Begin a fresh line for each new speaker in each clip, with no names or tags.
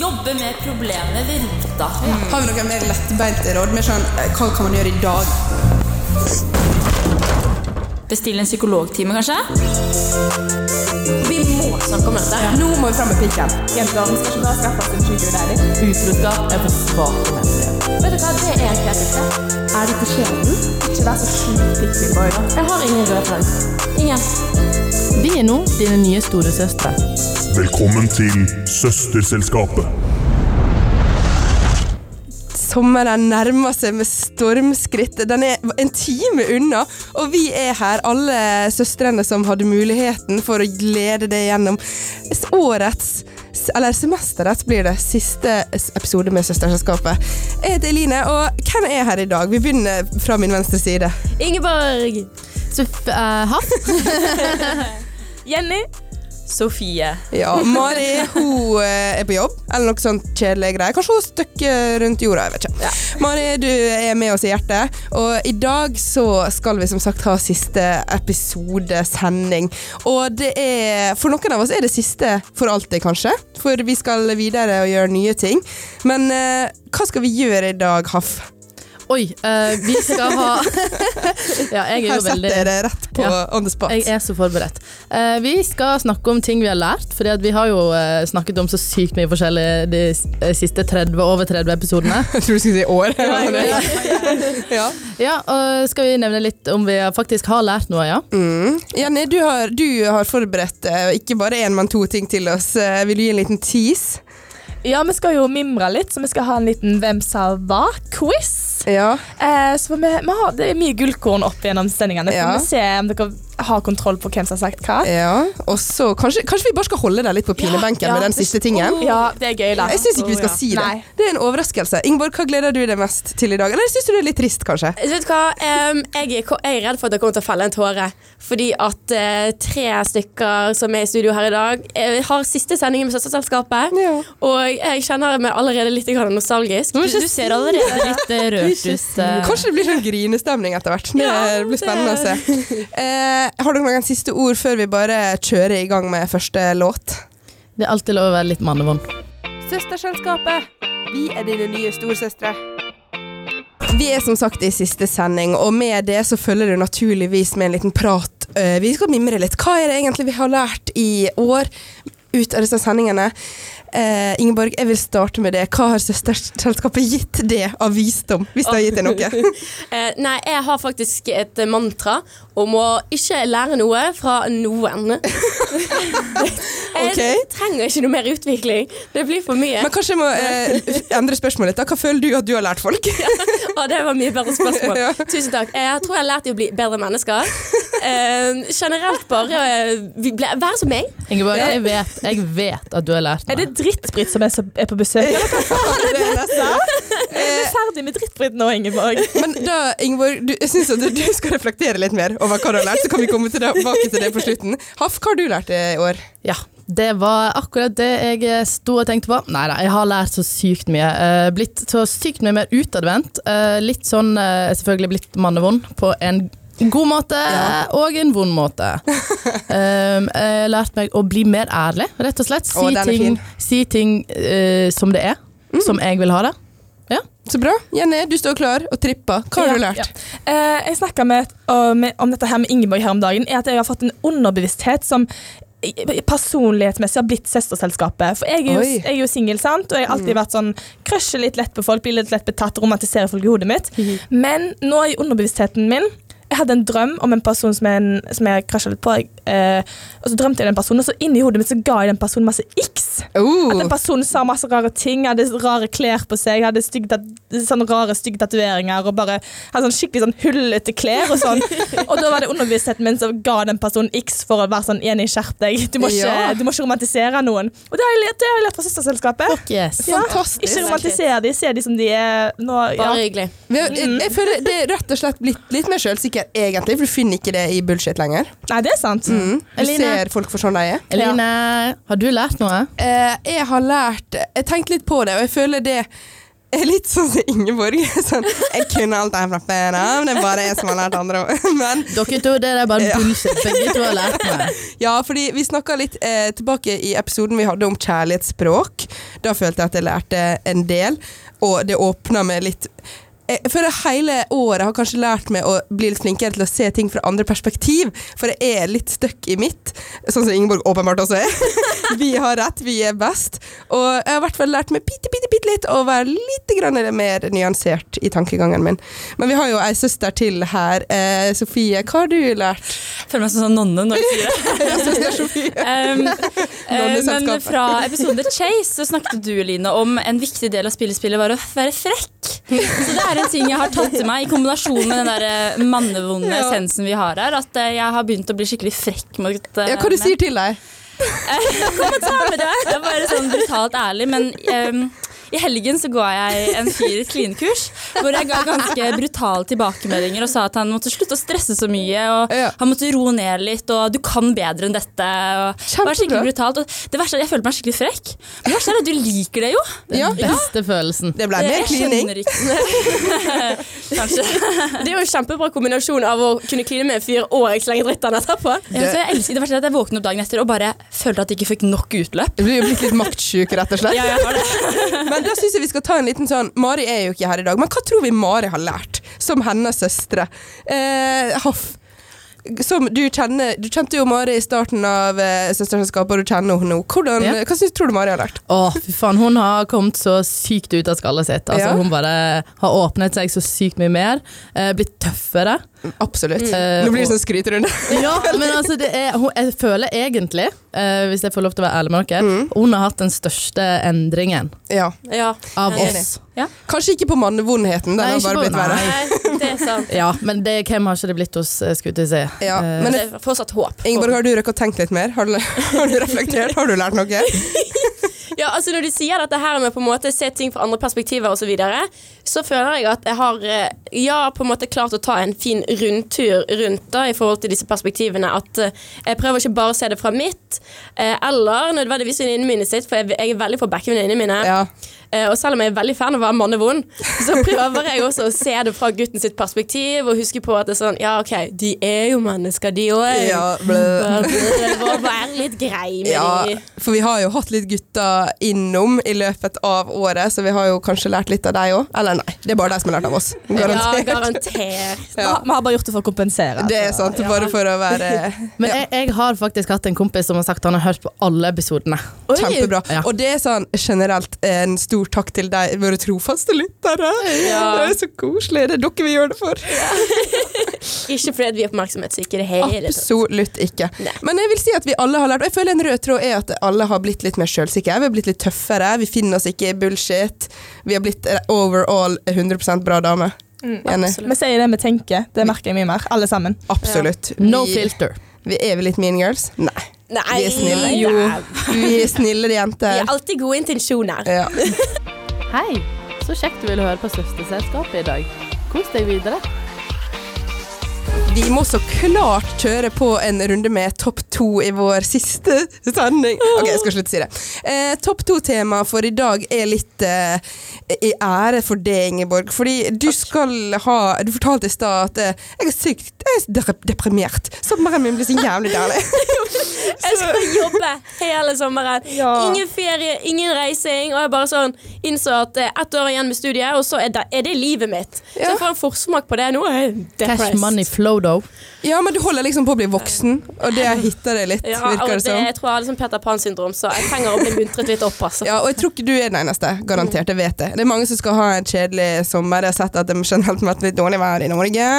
Jobbe med problemet ved rota.
Har vi noen mer lettbeinte råd? Mer sånn, eh, hva kan man gjøre i dag?
Bestille en psykologtime, kanskje?
Vi må snakke om dette. Nå må vi fram med pikken. Jenter skal ikke bare skaffe oss en psykolærer. Utroskap er for svakt for mennesker. Vet du hva, det er helt riktig. Er du ikke skjeden? Ikke vær så sjukt pikkboy. Jeg har ingen røde flagg. Ingen.
Vi er nå dine nye storesøstre.
Velkommen til Søsterselskapet.
Sommeren nærmer seg med stormskritt. Den er en time unna, og vi er her, alle søstrene som hadde muligheten for å glede deg gjennom s- årets eller semesterets blir det siste s- episode med Søsterselskapet. Jeg heter Eline, og hvem er her i dag? Vi begynner fra min venstre side.
Ingeborg.
Sof eh, Haff.
Jenny. Sofie.
Ja, Mari hun eh, er på jobb, eller noe sånt kjedelig greier. Kanskje hun støkker rundt jorda, jeg vet ikke. Mari, du er med oss i hjertet, og i dag så skal vi som sagt ha siste episodesending. Og det er, for noen av oss er det siste for alltid, kanskje. For vi skal videre og gjøre nye ting. Men eh, hva skal vi gjøre i dag, Haff?
Oi, eh, vi skal ha Ja,
Her
jeg er jo
setter
veldig
jeg dere rett på
Ja.
on the spot.
jeg er så forberedt. Eh, vi skal snakke om ting vi har lært, Fordi at vi har jo eh, snakket om så sykt mye forskjellig de s- eh, siste 30, over 30 episodene.
Jeg tror du skulle si år. ja.
Ja, og Skal vi nevne litt om vi faktisk har lært noe, ja?
Mm.
Jenny, du har, du har forberedt eh, ikke bare én, men to ting til oss. Eh, Vil du gi en liten tease?
Ja, vi skal jo mimre litt, så vi skal ha en liten Hvem sa hva-quiz.
Ja.
Ah, Eh, så vi, vi har, det er mye gullkorn opp gjennom sendingene.
Ja.
Ja. Vi se om dere har kontroll på hvem som har sagt hva.
ja. Og så kanskje, kanskje vi bare skal holde deg litt på pinebenken
Ja,
med den
det-
siste tingen?
Ja, det er gøy, da.
Jeg syns ikke vi skal si det.
Nei.
Det er en overraskelse. Ingeborg, hva gleder du deg mest til i dag? Eller syns du det er litt trist, kanskje?
Eh,
Vet du hva? Em, jeg, er, ko- jeg er redd for at det kommer til å felle en tåre. Fordi at eh, tre stykker som er i studio her i dag, eh, har siste sendingen med Søsterselskapet.
Ja.
Og jeg kjenner meg allerede litt grann nostalgisk.
Du, du ser allerede litt eh, rørt ut. eh.
Kanskje det blir sånn grinestemning etter hvert. Det
Ja,
blir spennende å se. Eh, har dere noen siste ord før vi bare kjører i gang med første låt?
Det er alltid lov å være litt mannevond.
Søsterselskapet. Vi er dine nye storsøstre. Vi er som sagt i siste sending, og med det så følger det naturligvis med en liten prat. Eh, Vi skal mimre litt. Hva er det egentlig vi har lært i år ut av disse sendingene? Eh, Ingeborg, jeg vil starte med det. Hva har Søsterselskapet gitt det av visdom, hvis det har gitt deg noe?
Eh, nei, jeg har faktisk et eh, mantra om å ikke lære noe fra noen. jeg
Ok.
trenger ikke noe mer utvikling. Det blir for mye.
Men kanskje jeg må eh, endre spørsmålet litt. da. Hva føler du at du har lært folk?
Å, det var mye bedre spørsmål.
Ja.
Tusen takk. Eh, Jeg tror jeg har lært dem å bli bedre mennesker. Eh, generelt bare eh, vi ble- Vær som meg.
Ingeborg, jeg vet, jeg vet at du har lært
Er
noe.
det Drittbritt som er, så- er på besøk? Eller hva faen er det? Er vi ferdig med Drittbritt nå, Ingeborg?
Men da, Ingeborg, du, jeg syns at du skal reflektere litt mer over hva du har lært. Så kan vi komme til det, tilbake til det på slutten. Haf, hva har du lært i år?
Ja, det var akkurat det jeg eh, sto og tenkte på. Nei da, jeg har lært så sykt mye. Eh, blitt så sykt mye mer utadvendt. Eh, litt sånn eh, selvfølgelig blitt mannevond på en god måte og en vond måte. Um, jeg har lært meg å bli mer ærlig, rett og slett. Si
Å, den er
ting,
fin.
si ting eh, som det er. Som jeg vil ha det.
Så bra. Jenny, du står klar og tripper. Hva har du lært?
Ja. Eh, jeg snakka med, om, om dette her med Ingeborg her om dagen. er at Jeg har fått en underbevissthet som i- personlighetsmessig har blitt søsterselskapet. For jeg er jo,
Oi. Mm.
jeg er jo singel, sant, og jeg har alltid vært sånn Crusher litt lett på folk, blir litt lett betatt, romantiserer folk i hodet mitt.
Mhm.
Men nå i underbevisstheten min jeg hadde en drøm om en person som jeg, som jeg crusha litt på. Jeg, eh, og så drømte jeg den personen, og så inni hodet mitt så ga jeg den personen masse x. At
Oh.
en person sa masse rare ting, hadde rare klær på seg, hadde stygg tat- sånne rare stygge tatoveringer og bare hadde sånn skikkelig sånn hullete klær og sånn. Og da var det underbevisstheten min som ga den personen X for å være sånn enig, skjerp deg. Du må ikke,
Ja.
du må ikke romantisere noen. Og det har jeg lært, det har jeg lært fra søsterselskapet.
Yes.
Ja,
Fantastisk.
Ikke romantisere de, se de som de er nå. Ja.
Bare hyggelig.
Vi har- Jeg, jeg føler det er rett og slett blitt litt mer sjølsikker, egentlig, for du finner ikke det i bullshit lenger.
Nei, det er sant.
Du
Eline.
ser folk for sånn de er.
Eline, har du lært noe?
Eh, jeg har lært Jeg tenkte litt på det, og jeg føler det er litt sånn som Ingeborg. Sånn, jeg kunne alt her fra før av, det er bare jeg som har lært andre. Men
Dere to, det er bare bullshit. Begge to har lært meg.
ja, fordi vi snakka litt eh, tilbake i episoden vi hadde om kjærlighetsspråk. Da følte jeg at jeg lærte en del, og det åpna med litt jeg føler Hele året har kanskje lært meg å bli litt flinkere til å se ting fra andre perspektiv. For jeg er litt stuck i mitt, sånn som Ingeborg åpenbart også er. vi har rett, vi er best. Og jeg har i hvert fall lært meg bitte, bitte, bitte litt å være litt grann mer nyansert i tankegangen min. Men vi har jo ei søster til her. Eh, Sofie, hva har du lært?
Føler meg som sånn nonne når du sier det.
Ja, søster Sofie.
Ehm, eh, men
Nonneselskapet.
fra episoden The Chase så snakket du, Line, om en viktig del av spillespillet var å være frekk. Så det er en ting jeg har tatt til meg, i kombinasjon med den der eh, mannevonde
Ja.
essensen vi har her, at eh, jeg har begynt å bli skikkelig frekk mot eh,
Ja, hva du sier til deg?
kommentarer. Det er bare sånn brutalt ærlig, men ehm, i helgen så ga jeg en fyr et klinekurs, hvor jeg ga ganske brutale tilbakemeldinger og sa at han måtte slutte å stresse så mye, og
Ja.
han måtte roe ned litt, og du kan bedre enn dette. Og det var
Kjempebra.
skikkelig brutalt. Og det verste er at jeg følte meg skikkelig frekk. Men det verste er at du liker det jo.
Ja.
Den beste følelsen.
Det ble mer
jeg
klining.
skjønner ikke Kanskje.
Det er jo en kjempebra kombinasjon av å kunne kline med en fyr og jeg slenger dritt av han etterpå.
Ja, så jeg elsker det verste er at jeg våknet opp dagen etter og bare følte at jeg ikke fikk nok utløp.
Du er jo blitt litt maktsjuk, rett og slett.
Ja, jeg har det.
Men da syns jeg vi skal ta en liten sånn Mari er jo ikke her i dag, men hva tror vi Mari har lært som hennes søstre? Eh, Haff. Som du kjenner Du kjente jo Mari i starten av eh, Søsterselskapet, og du kjenner henne nå. Hvordan,
Ja.
Hva syns, tror du Mari har lært?
Å, fy faen, hun har kommet så sykt ut av skallet sitt. Altså,
Ja.
Hun bare har åpnet seg så sykt mye mer. eh, Blitt tøffere.
Absolutt.
Eh,
Nå blir det
og-
sånn skryterunde.
Ja, men altså, det er, hun, jeg føler egentlig, eh, hvis jeg får lov til å være ærlig med dere,
Mm.
hun har hatt den største endringen
ja.
Ja.
av
Enig.
oss.
Kanskje ikke på mannevondheten, den
Nei,
har
ikke
bare
på-
blitt verre.
nei.
Nei, det er sant.
Ja, men det, hvem har ikke det blitt hos, eh, skulle jeg til å si.
Ja,
Eh,
men
Det er fortsatt håp.
Ingeborg, har du rukket å tenke litt mer? Har du, har du reflektert? Har du lært noe?
Ja, altså Når du sier dette her med på en måte se ting fra andre perspektiver osv., så, videre, så føler jeg at jeg har eh, ja, på en måte klart å ta en fin rundtur rundt da, i forhold til disse perspektivene. At eh, jeg prøver ikke bare å se det fra mitt, eh, eller nødvendigvis venninnen mine sitt, for jeg, jeg er veldig for backevenninnene mine.
Ja.
Eh, Og selv om jeg er veldig fan av å være mannevond, så prøver jeg også å se det fra gutten sitt perspektiv og huske på at det er sånn Ja, OK, de er jo mennesker, de òg.
Ja, blø.
Prøve å være litt grei med
Ja,
de.
for vi har jo hatt litt gutter innom i løpet av året, så vi har jo kanskje lært litt av deg òg. Eller nei, det er bare de som har lært av oss. Garantert.
Ja, garantert.
Vi har- vi har bare gjort det for å kompensere.
Det er sant, bare for å være
Men jeg, jeg har faktisk hatt en kompis som har sagt han har hørt på alle episodene.
kjempebra.
Ja.
Og det er sånn generelt en stor takk til deg, våre trofaste lyttere. Det er så koselig. Det er dere vi gjør det for.
Ikke fordi at vi er oppmerksomhetssyke i det hele tatt.
Absolutt ikke.
Nei.
Men jeg vil si at vi alle har lært, og jeg føler en rød tråd er at alle har blitt litt mer selvsikre. Vi har blitt litt tøffere, vi finner oss ikke i bullshit. Vi har blitt eh, overall 100 bra dame. Enig.
Vi sier det vi tenker. Det merker jeg mye mer. Alle sammen.
Absolutt.
No
vi,
filter.
vi er vel litt mean girls? Nei.
Nei,
Vi er snille.
nei.
Jo. Vi er snillere jenter.
Vi har alltid gode intensjoner.
Ja.
Hei, så kjekt du ville høre på Søsterselskapet i dag. Kos deg videre.
Vi må så klart kjøre på en runde med topp to i vår siste sending. Ok, jeg skal slutte å si det. Eh, topp to-tema for i dag er litt eh, i ære for det, Ingeborg. Fordi du skal ha Du fortalte i stad at eh, jeg er sykt jeg er dep- deprimert. Sommeren min blir så jævlig dårlig.
Jeg skal jobbe hele sommeren.
Ja.
Ingen ferie, ingen reising. Og jeg bare sånn innså at eh, ett år igjen med studiet, og så er det, er det livet mitt. Så jeg får en forsmak på det nå. er Jeg
Cash
depressed.
money flow, though.
Ja, men du holder liksom på å bli voksen, og det hitter deg litt,
Ja, og
virker
det,
det som.
jeg tror jeg har liksom Peter Pan-syndrom, så jeg trenger å bli muntret litt opp. Altså.
Ja, og jeg tror ikke du er den eneste, garantert, jeg vet det. Det er mange som skal ha en kjedelig sommer, jeg har sett at det generelt har vært litt dårlig vær i Norge.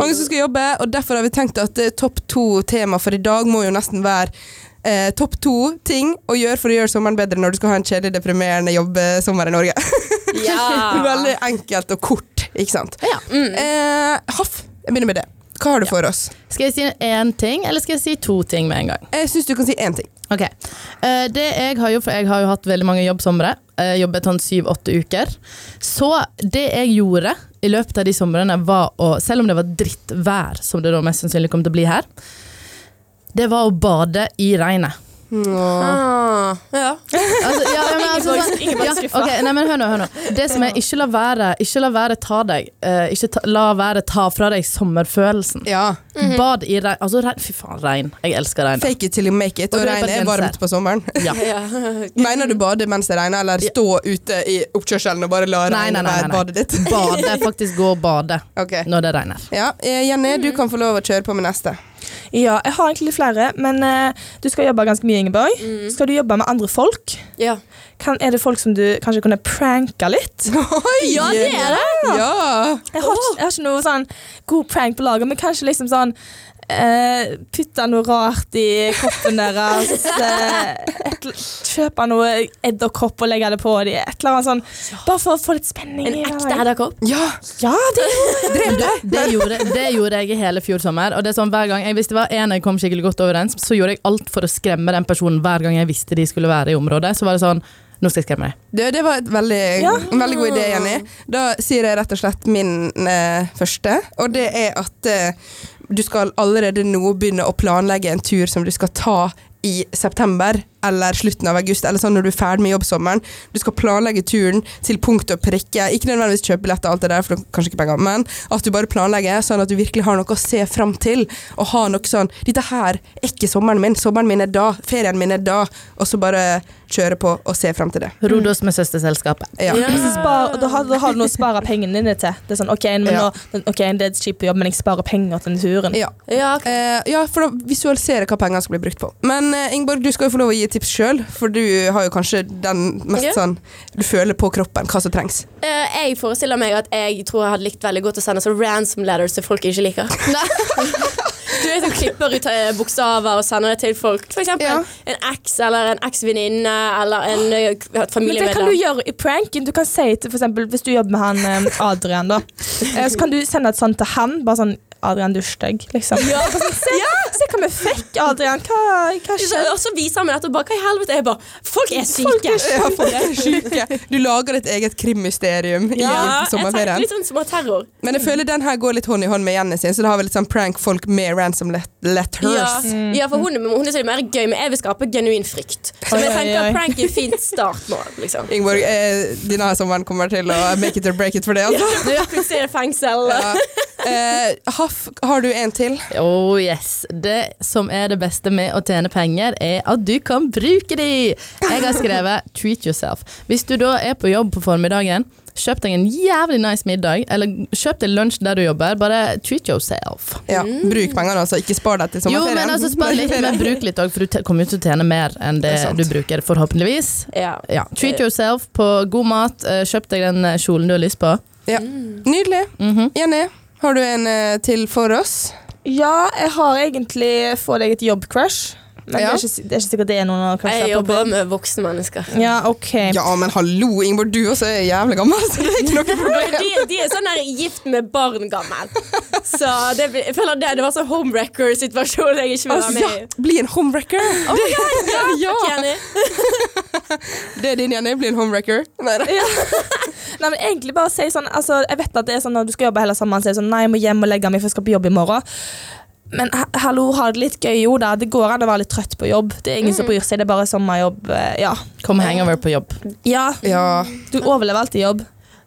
Mange som skal jobbe, og derfor har vi tenkt at eh, topp to tema for i dag må jo nesten være eh, topp to ting å gjøre for å gjøre sommeren bedre når du skal ha en kjedelig, deprimerende jobbsommer i Norge.
Ja.
Veldig enkelt og kort, ikke sant.
Mm.
Eh, Haff, jeg begynner med det. Hva har du for oss?
Skal jeg si én ting, eller skal jeg si to ting med en gang?
Jeg syns du kan si én ting.
Ok, Eh, Det jeg har gjort, for jeg har jo hatt veldig mange jobbsomre, eh, jobbet sånn syv-åtte uker. Så det jeg gjorde i løpet av de somrene, var å, selv om det var drittvær, som det da mest sannsynlig kom til å bli her, det var å bade i regnet.
Ah, ja.
Altså, ja, ja, men altså, sånn,
Ikke bare
Ja,
skuffa.
ok, nei, men hør nå, hør nå. Det som er ikke la være, ikke la være ta deg. eh, ikke ta, la være ta fra deg sommerfølelsen.
Ja.
Bad i regn. Altså, regn. Fy faen, regn. Jeg elsker regn.
Fake it till you make it.
Og
Og
du er på
regnet er
genser.
varmt på sommeren.
Ja.
Ja.
Mener du bade mens det regner, eller stå ute i oppkjørselen og bare la
Nei, nei,
regnet
nei, nei,
være
nei.
badet ditt?
Bade, faktisk gå og bade
Ok.
når det regner.
Ja, eh, Jenny, du kan få lov å kjøre på med neste.
Ja, jeg har egentlig litt flere, men eh, du skal jobbe ganske mye, Ingeborg.
Mm.
Skal du jobbe med andre folk?
Ja.
Kan, er det folk som du kanskje kunne pranka litt?
Oi!
ja, det er det!
Ja.
Jeg har, ikke, jeg har ikke noe sånn god prank på lager, men kanskje liksom sånn eh, Putte noe rart i koppen deres. eh, et, kjøpe noe edderkopp og legge det på dem. Et eller annet sånn. Bare for å få litt spenning.
En
i
ekte
hverdagen.
edderkopp.
ja.
Ja, det er
Drev du? Det gjorde, det gjorde jeg i hele fjor sommer. Og det er sånn, hver gang jeg, hvis det var en jeg kom skikkelig godt overens, så gjorde jeg alt for å skremme den personen hver gang jeg visste de skulle være i området. Så var det sånn Nå skal jeg skremme deg.
Det, det var et veldig,
Ja.
en veldig god idé, Jenny. Da sier jeg rett og slett min eh, første, og det er at eh, du skal allerede nå begynne å planlegge en tur som du skal ta i september eller slutten av august, eller sånn når du er ferdig med jobbsommeren. Du skal planlegge turen til punkt og prikke. Ikke nødvendigvis kjøpe billetter og alt det der, for du har kanskje ikke penger, men at du bare planlegger sånn at du virkelig har noe å se fram til. Og ha noe sånn Dette her er ikke sommeren min. Sommeren min er da. Ferien min er da. Og så bare kjøre på og se fram til det.
Rodos med søsterselskapet.
Ja.
spar, og da, har, da har du noe å spare pengene dine til. Det er sånn, ok, men
Ja.
nå, ok, det er kjipt å jobbe, men jeg sparer penger til den turen.
Ja.
Ja,
Eh, ja, for da visualisere hva pengene skal bli brukt på. Men eh, Ingeborg, du skal jo få lov å gi tips sjøl, for du har jo kanskje den mest
Ja.
sånn Du føler på kroppen hva som trengs.
Eh, jeg forestiller meg at jeg tror jeg hadde likt veldig godt å sende sånn ransom letters til folk jeg ikke liker. du vet, som klipper ut eh, bokstaver og sender det til folk. For eksempel
Ja.
en eks eller en eksvenninne eller en eh, et
Men det kan
familiemedlem.
du gjøre i pranken. Du kan si til for eksempel, Hvis du jobber med han eh, Adrian, da, eh, så kan du sende et sånt til han. Bare sånn 'Adrian, du er stygg', liksom. Bare sånn, se, se hva vi fikk, Adrian. Hva, hva
Så-
skjedde?
Og så viser han meg dette, og bare hva i helvete? Jeg bare Folk er syke!
Ja, folk er syke. Du lager ditt eget krimmysterium
Ja,
i
jeg tenker
sommerferien.
litt sånn småterror.
Men jeg føler den her går litt hånd i hånd med Jenny sin, så da har vi litt sånn prank folk med ransom let
Ja.
letters.
ja, for hun, hun er så mer gøy, men jeg vil skape genuin frykt. Så
Mm. Oi,
jeg
oi,
tenker
oi.
at prank er et fint startmål. Liksom.
Ingeborg, eh, denne her sommeren kommer til å make it or break it for det, altså.
Plutselig er det fengsel.
Ja. Eh, Haff, har du en til?
Oh yes. Det som er det beste med å tjene penger, er at du kan bruke de. Jeg har skrevet 'treat yourself'. Hvis du da er på jobb på formiddagen, kjøp deg en jævlig nice middag, eller kjøp deg lunsj der du jobber. Bare treat yourself.
Ja. Bruk pengene, altså. Ikke spar deg til
Jo,
sommerferien.
men altså spar litt, men bruk litt òg, for du te- kommer jo til å tjene mer enn
Det er
det
sant.
du bruker, forhåpentligvis.
Ja.
Ja. Treat yourself på god mat. eh, Kjøp deg den eh, kjolen du har lyst på. Mhm.
Ja. Nydelig. Jenny, har du en eh, til for oss?
Ja, jeg har egentlig Få deg et jobbcrush. Men det,
Ja.
er ikke, det er ikke sikkert det er noen å crushe
Jeg
på.
jobber med voksne mennesker.
Ja, ok.
Ja, men hallo, Ingeborg, du også er jævlig gammel, så det er ikke noe problem.
De, de er sånn der gift med barn gammel. Så det, blir- jeg føler det, det var sånn homewrecker-situasjon jeg ikke vil være
Altså,
med
ja,
i.
bli en homewrecker.
Ja. Ok, Jenny.
Det er din, Jenny. Bli en homewrecker. Nei, nei.
Nei, men egentlig bare si sånn altså, Jeg vet at det er sånn når du skal jobbe hele sommeren, så er det sånn Nei, jeg må hjem og legge meg, for jeg skal på jobb i morgen. Men ha- hallo, ha det litt gøy, jo da. Det går an å være litt trøtt på jobb. Det er ingen som bryr seg, det er bare sommerjobb. eh, Ja.
Kom hangover på jobb.
ja.
Ja,
Du overlever alltid jobb.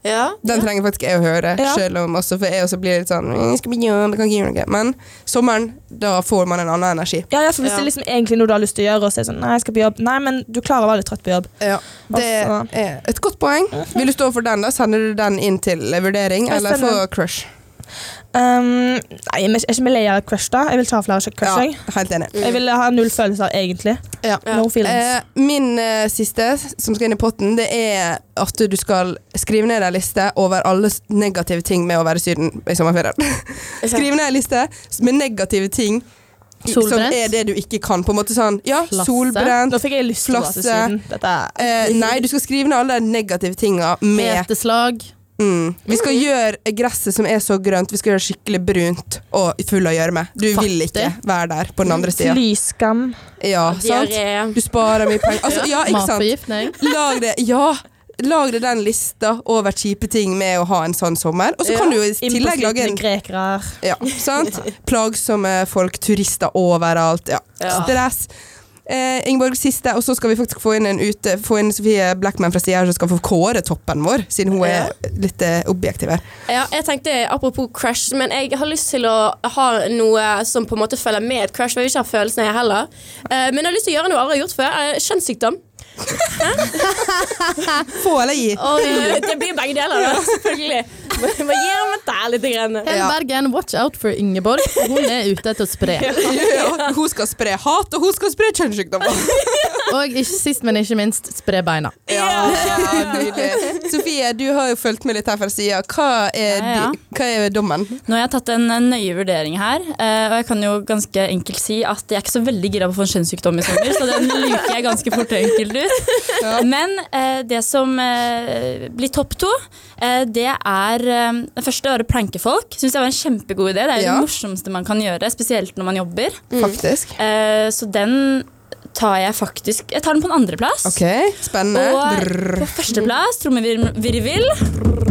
Ja.
den trenger faktisk jeg å høre,
Ja.
selv om også, for jeg også blir litt sånn «Mm, skal vi gjøre, det kan ikke gjøre noe. Men sommeren, da får man en annen energi.
Ja, ja, for Hvis
Ja.
det er liksom egentlig noe du har lyst til å gjøre, og så er det sånn Nei, jeg skal på jobb. Nei, men du klarer å være litt trøtt på jobb.
Ja, det
Altså.
er et godt poeng. Vil du stå for den, da? Sender du den inn til vurdering,
Jeg
eller
sender
få crush?
Um, nei, men er ikke vi lei av crush, da? Jeg vil ikke ha flere crush. jeg.
helt enig.
Jeg vil ha null følelser, egentlig.
Ja.
No feelings.
Eh, min eh, siste, som skal inn i potten, det er at du skal skrive ned en liste over alle s- negative ting med å være i Syden i sommerferien. Skriv ned en liste med negative ting i- som
Solbrent?
er det du ikke kan. På en måte sånn, ja,
Flasse?
solbrent
Nå fikk jeg lyst til å dra til
flasse.
Syden. Dette er
eh, Nei, du skal skrive ned alle de negative tinga med
Meteslag.
mm. Vi skal gjøre gresset som er så grønt, vi skal gjøre det skikkelig brunt og full av gjørme. Du vil ikke være der på den andre sida.
flyskam.
Ja, sant?
Diaré.
Du sparer mye penger. Altså, ja, ikke sant?
Matforgiftning.
Lag det, ja Lag det den lista over kjipe ting med å ha en sånn sommer. Og så kan du jo i tillegg lage en
Innpåslitne grekere.
ja, sant? Plagsomme folk, turister overalt. Ja.
Ja.
Stress. Eh, Ingeborg siste, og så skal vi faktisk få inn en ute Få inn Sofie Blackman fra sida her, som skal få kåre toppen vår, siden hun er litt eh, objektiv her.
Ja, jeg tenkte Apropos crush, men jeg har lyst til å ha noe som på en måte følger med et crush. For jeg vil ikke ha følelsen jeg heller. Eh, men jeg har lyst til å gjøre noe andre har gjort før. Eh, kjønnssykdom.
Få eller gi.
Og eh, det blir begge deler, da, selvfølgelig. Må må gi ham et der lite grann.
Hele
Ja.
Bergen, watch out for Ingeborg. Hun er ute etter å spre.
Ja, hun skal spre hat, og hun skal spre kjønnssykdommer.
Og ikke sist, men ikke minst, spre beina.
Ja, nydelig. Sofie, du har jo fulgt med litt her fra sida. Hva, er
Ja, ja.
di- hva er dommen?
Nå har jeg tatt en en nøye vurdering her, eh, og jeg kan jo ganske enkelt si at jeg er ikke så veldig gira på å få en kjønnssykdom i sommer, så den luker jeg ganske fort og enkelt ut. Men eh, det som eh, blir topp to, eh, det er eh, Det første var å planke folk. Syns jeg var en kjempegod idé. Det er jo
Ja.
det morsomste man kan gjøre, spesielt når man jobber.
Mm. Faktisk.
Eh, Så den tar jeg faktisk Jeg tar den på en andreplass.
Ok, spennende.
Og
Brrr,
på førsteplass, trommevirvel,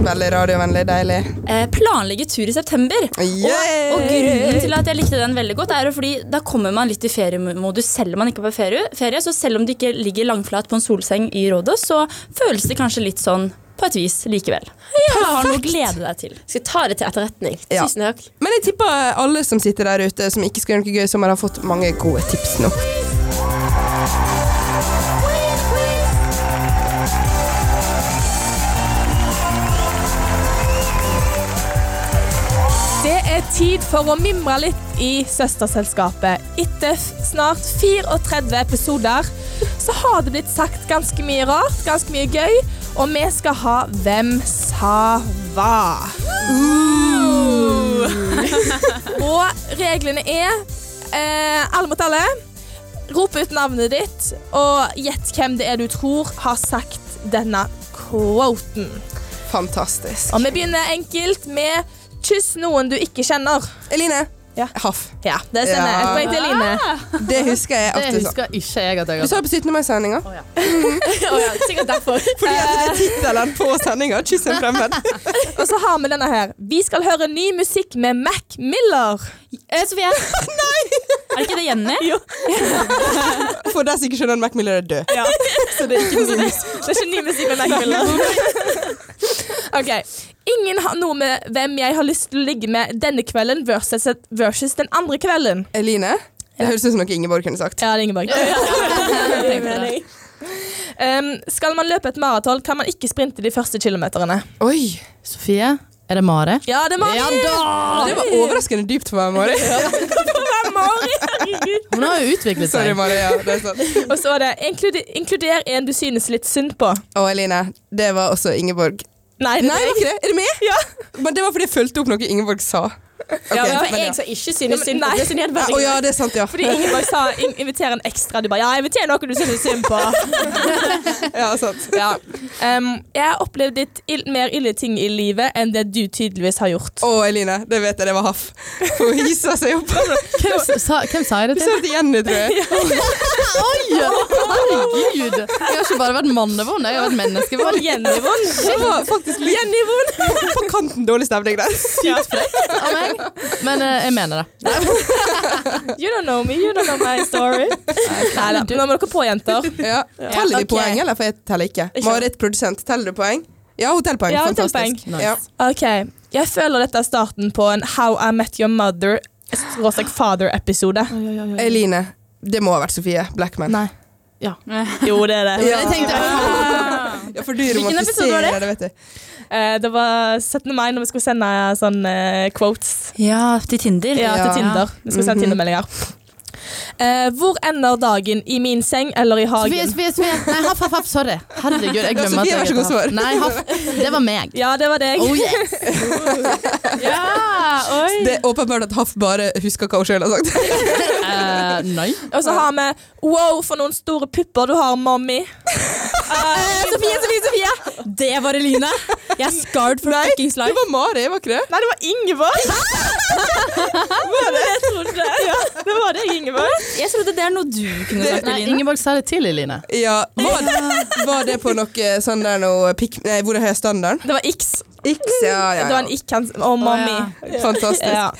veldig radiovennlig, deilig.
eh, planlegge tur i september.
Yeah!
Og grunnen til at jeg likte den veldig godt, er jo fordi da kommer man litt i feriemodus selv om man ikke er på ferie. ferie så selv om du ikke ligger langflat på en solseng i Rådås, så føles det kanskje litt sånn på et vis likevel. Du har noe å glede deg til.
Skal ta det til etterretning.
Ja.
Tusen takk.
Men jeg tipper alle som sitter der ute som ikke skal gjøre noe gøy i sommer, har fått mange gode tips nå.
Det er tid for å mimre litt i søsterselskapet. Etter f- snart 34 episoder så har det blitt sagt ganske mye rart, ganske mye gøy, og vi skal ha Hvem sa hva? og reglene er eh, alle mot alle. Rop ut navnet ditt, og gjett hvem det er du tror har sagt denne quoten.
Fantastisk.
Og vi begynner enkelt med 'kyss noen du ikke kjenner'.
Eline.
Ja.
Haff.
Ja, Ah! det stemmer.
Ja.
Et poeng til Line.
Det husker jeg at
Det
du sa.
husker ikke jeg at jeg
Du
har
sa det på 17. mai-sendinga.
Å ja, sikkert derfor.
Fordi at det er tittelen på sendinga. Kyss en fremmed.
Og så har vi denne her. Vi skal høre ny musikk med Mac Miller.
Eh, Sofie? Er ikke det Jenny?
For deg som ikke skjønner at Mac Miller er død.
Så det er ikke ny musikk, det er ikke ny musikk med Mac Miller. Ok. Ingen har noe med hvem jeg har lyst til å ligge med denne kvelden versus, versus den andre kvelden.
Eline. Det høres ut som noe Ingeborg kunne sagt.
Ja, det er Ingeborg.
Det mener jeg.
Um, skal man løpe et maraton, kan man ikke sprinte de første kilometerne.
Oi!
Sofie, er det Mare?
Ja, det er Mari!
Ja da!
Det var overraskende dypt for meg, Mari.
Det er Mari, herregud.
Hun har jo utviklet
Sorry,
seg.
Mari. Ja, det er sant.
Og så er det inkluder, inkluder en du synes litt synd på.
Og Eline, det var også Ingeborg.
Nei,
Nei, det er ikke det. Er det meg?
Ja.
Men det var fordi jeg fulgte opp noe Ingeborg sa. Ok, men
Ja, men for
ja.
jeg som ikke synes synd på
Nei.
det, så
Å
nedverdigende.
ja, det er sant, ja.
Fordi Ingeborg sa in inviter en ekstra. Du bare ja, inviter noe du synes synd på.
ja sant.
Um, jeg har opplevd litt ill mer ille ting i livet enn det du tydeligvis har gjort.
Å, Eline, det vet jeg, det var Haff. Hun hissa seg opp. Hun
Hvem s- sa, hvem sa jeg det
sa
til?
det til Jenny, tror jeg.
Oi, herregud! Jeg har ikke bare vært mannevond, jeg har vært
Og
menneskevond.
Jenny Vonn.
Det var faktisk litt
Jenny Vonn.
på kanten dårlig stemning der.
av meg. Men eh, jeg mener det.
You don't know me, you don't know my story. Neida, Nå må dere på, jenter.
Ja. Teller de
Ok.
poeng, eller? For jeg teller ikke.
skjønner.
Marit, produsent, teller du poeng? Ja, hun teller poeng.
Ja, hun teller
Fantastisk.
poeng.
Ja.
Ok, Jeg føler dette er starten på en How I Met Your Mother Råstek Father-episode.
Eline, det må ha vært Sofie Blackman.
Nei.
Jo, det er det.
Ja.
Jeg tenkte,
Ja, for du
episode var det?
romantiserer det, vet du.
Eh, det var 17. mai når vi skulle sende eh, sånn eh, quotes.
Ja, til Tinder.
Ja, Mhm. til
Ja.
Tinder. Vi skal sende Tinder-meldinger. Eh, hvor ender dagen? I min seng eller i
Sofie,
hagen?
Sofie, Sofie. Nei, haff, haff, haff, sorry. Herregud, jeg glemmer at
Sofie,
jeg
vær så
heter
god,
Haff.
svar.
Nei, haff. Det var meg.
Ja, det var deg.
Oh yes.
Ja, oi.
Det er åpenbart at Haff bare husker hva hun sjøl har sagt.
Eh, nei.
Og så har vi Wow, for noen store pupper du har, mommy. Eh, Sofie, Sofie, Sofie!
Det var Eline! Jeg er scarred for fuckings
Det
life.
var Mari, var ikke det?
Nei, det var Ingeborg. var det jeg trodde? Ja, det var deg, Ingeborg.
Jeg trodde det er noe du kunne sagt,
Nei,
Eline.
Ingeborg sa det til Eline.
Ja, var det, var det på noe sånn der noe pikk... Nei, hvor er standarden?
Det var X.
X, ja, ja.
Det var en ikk hans og mommy.
Å,
Fantastisk.
Ja.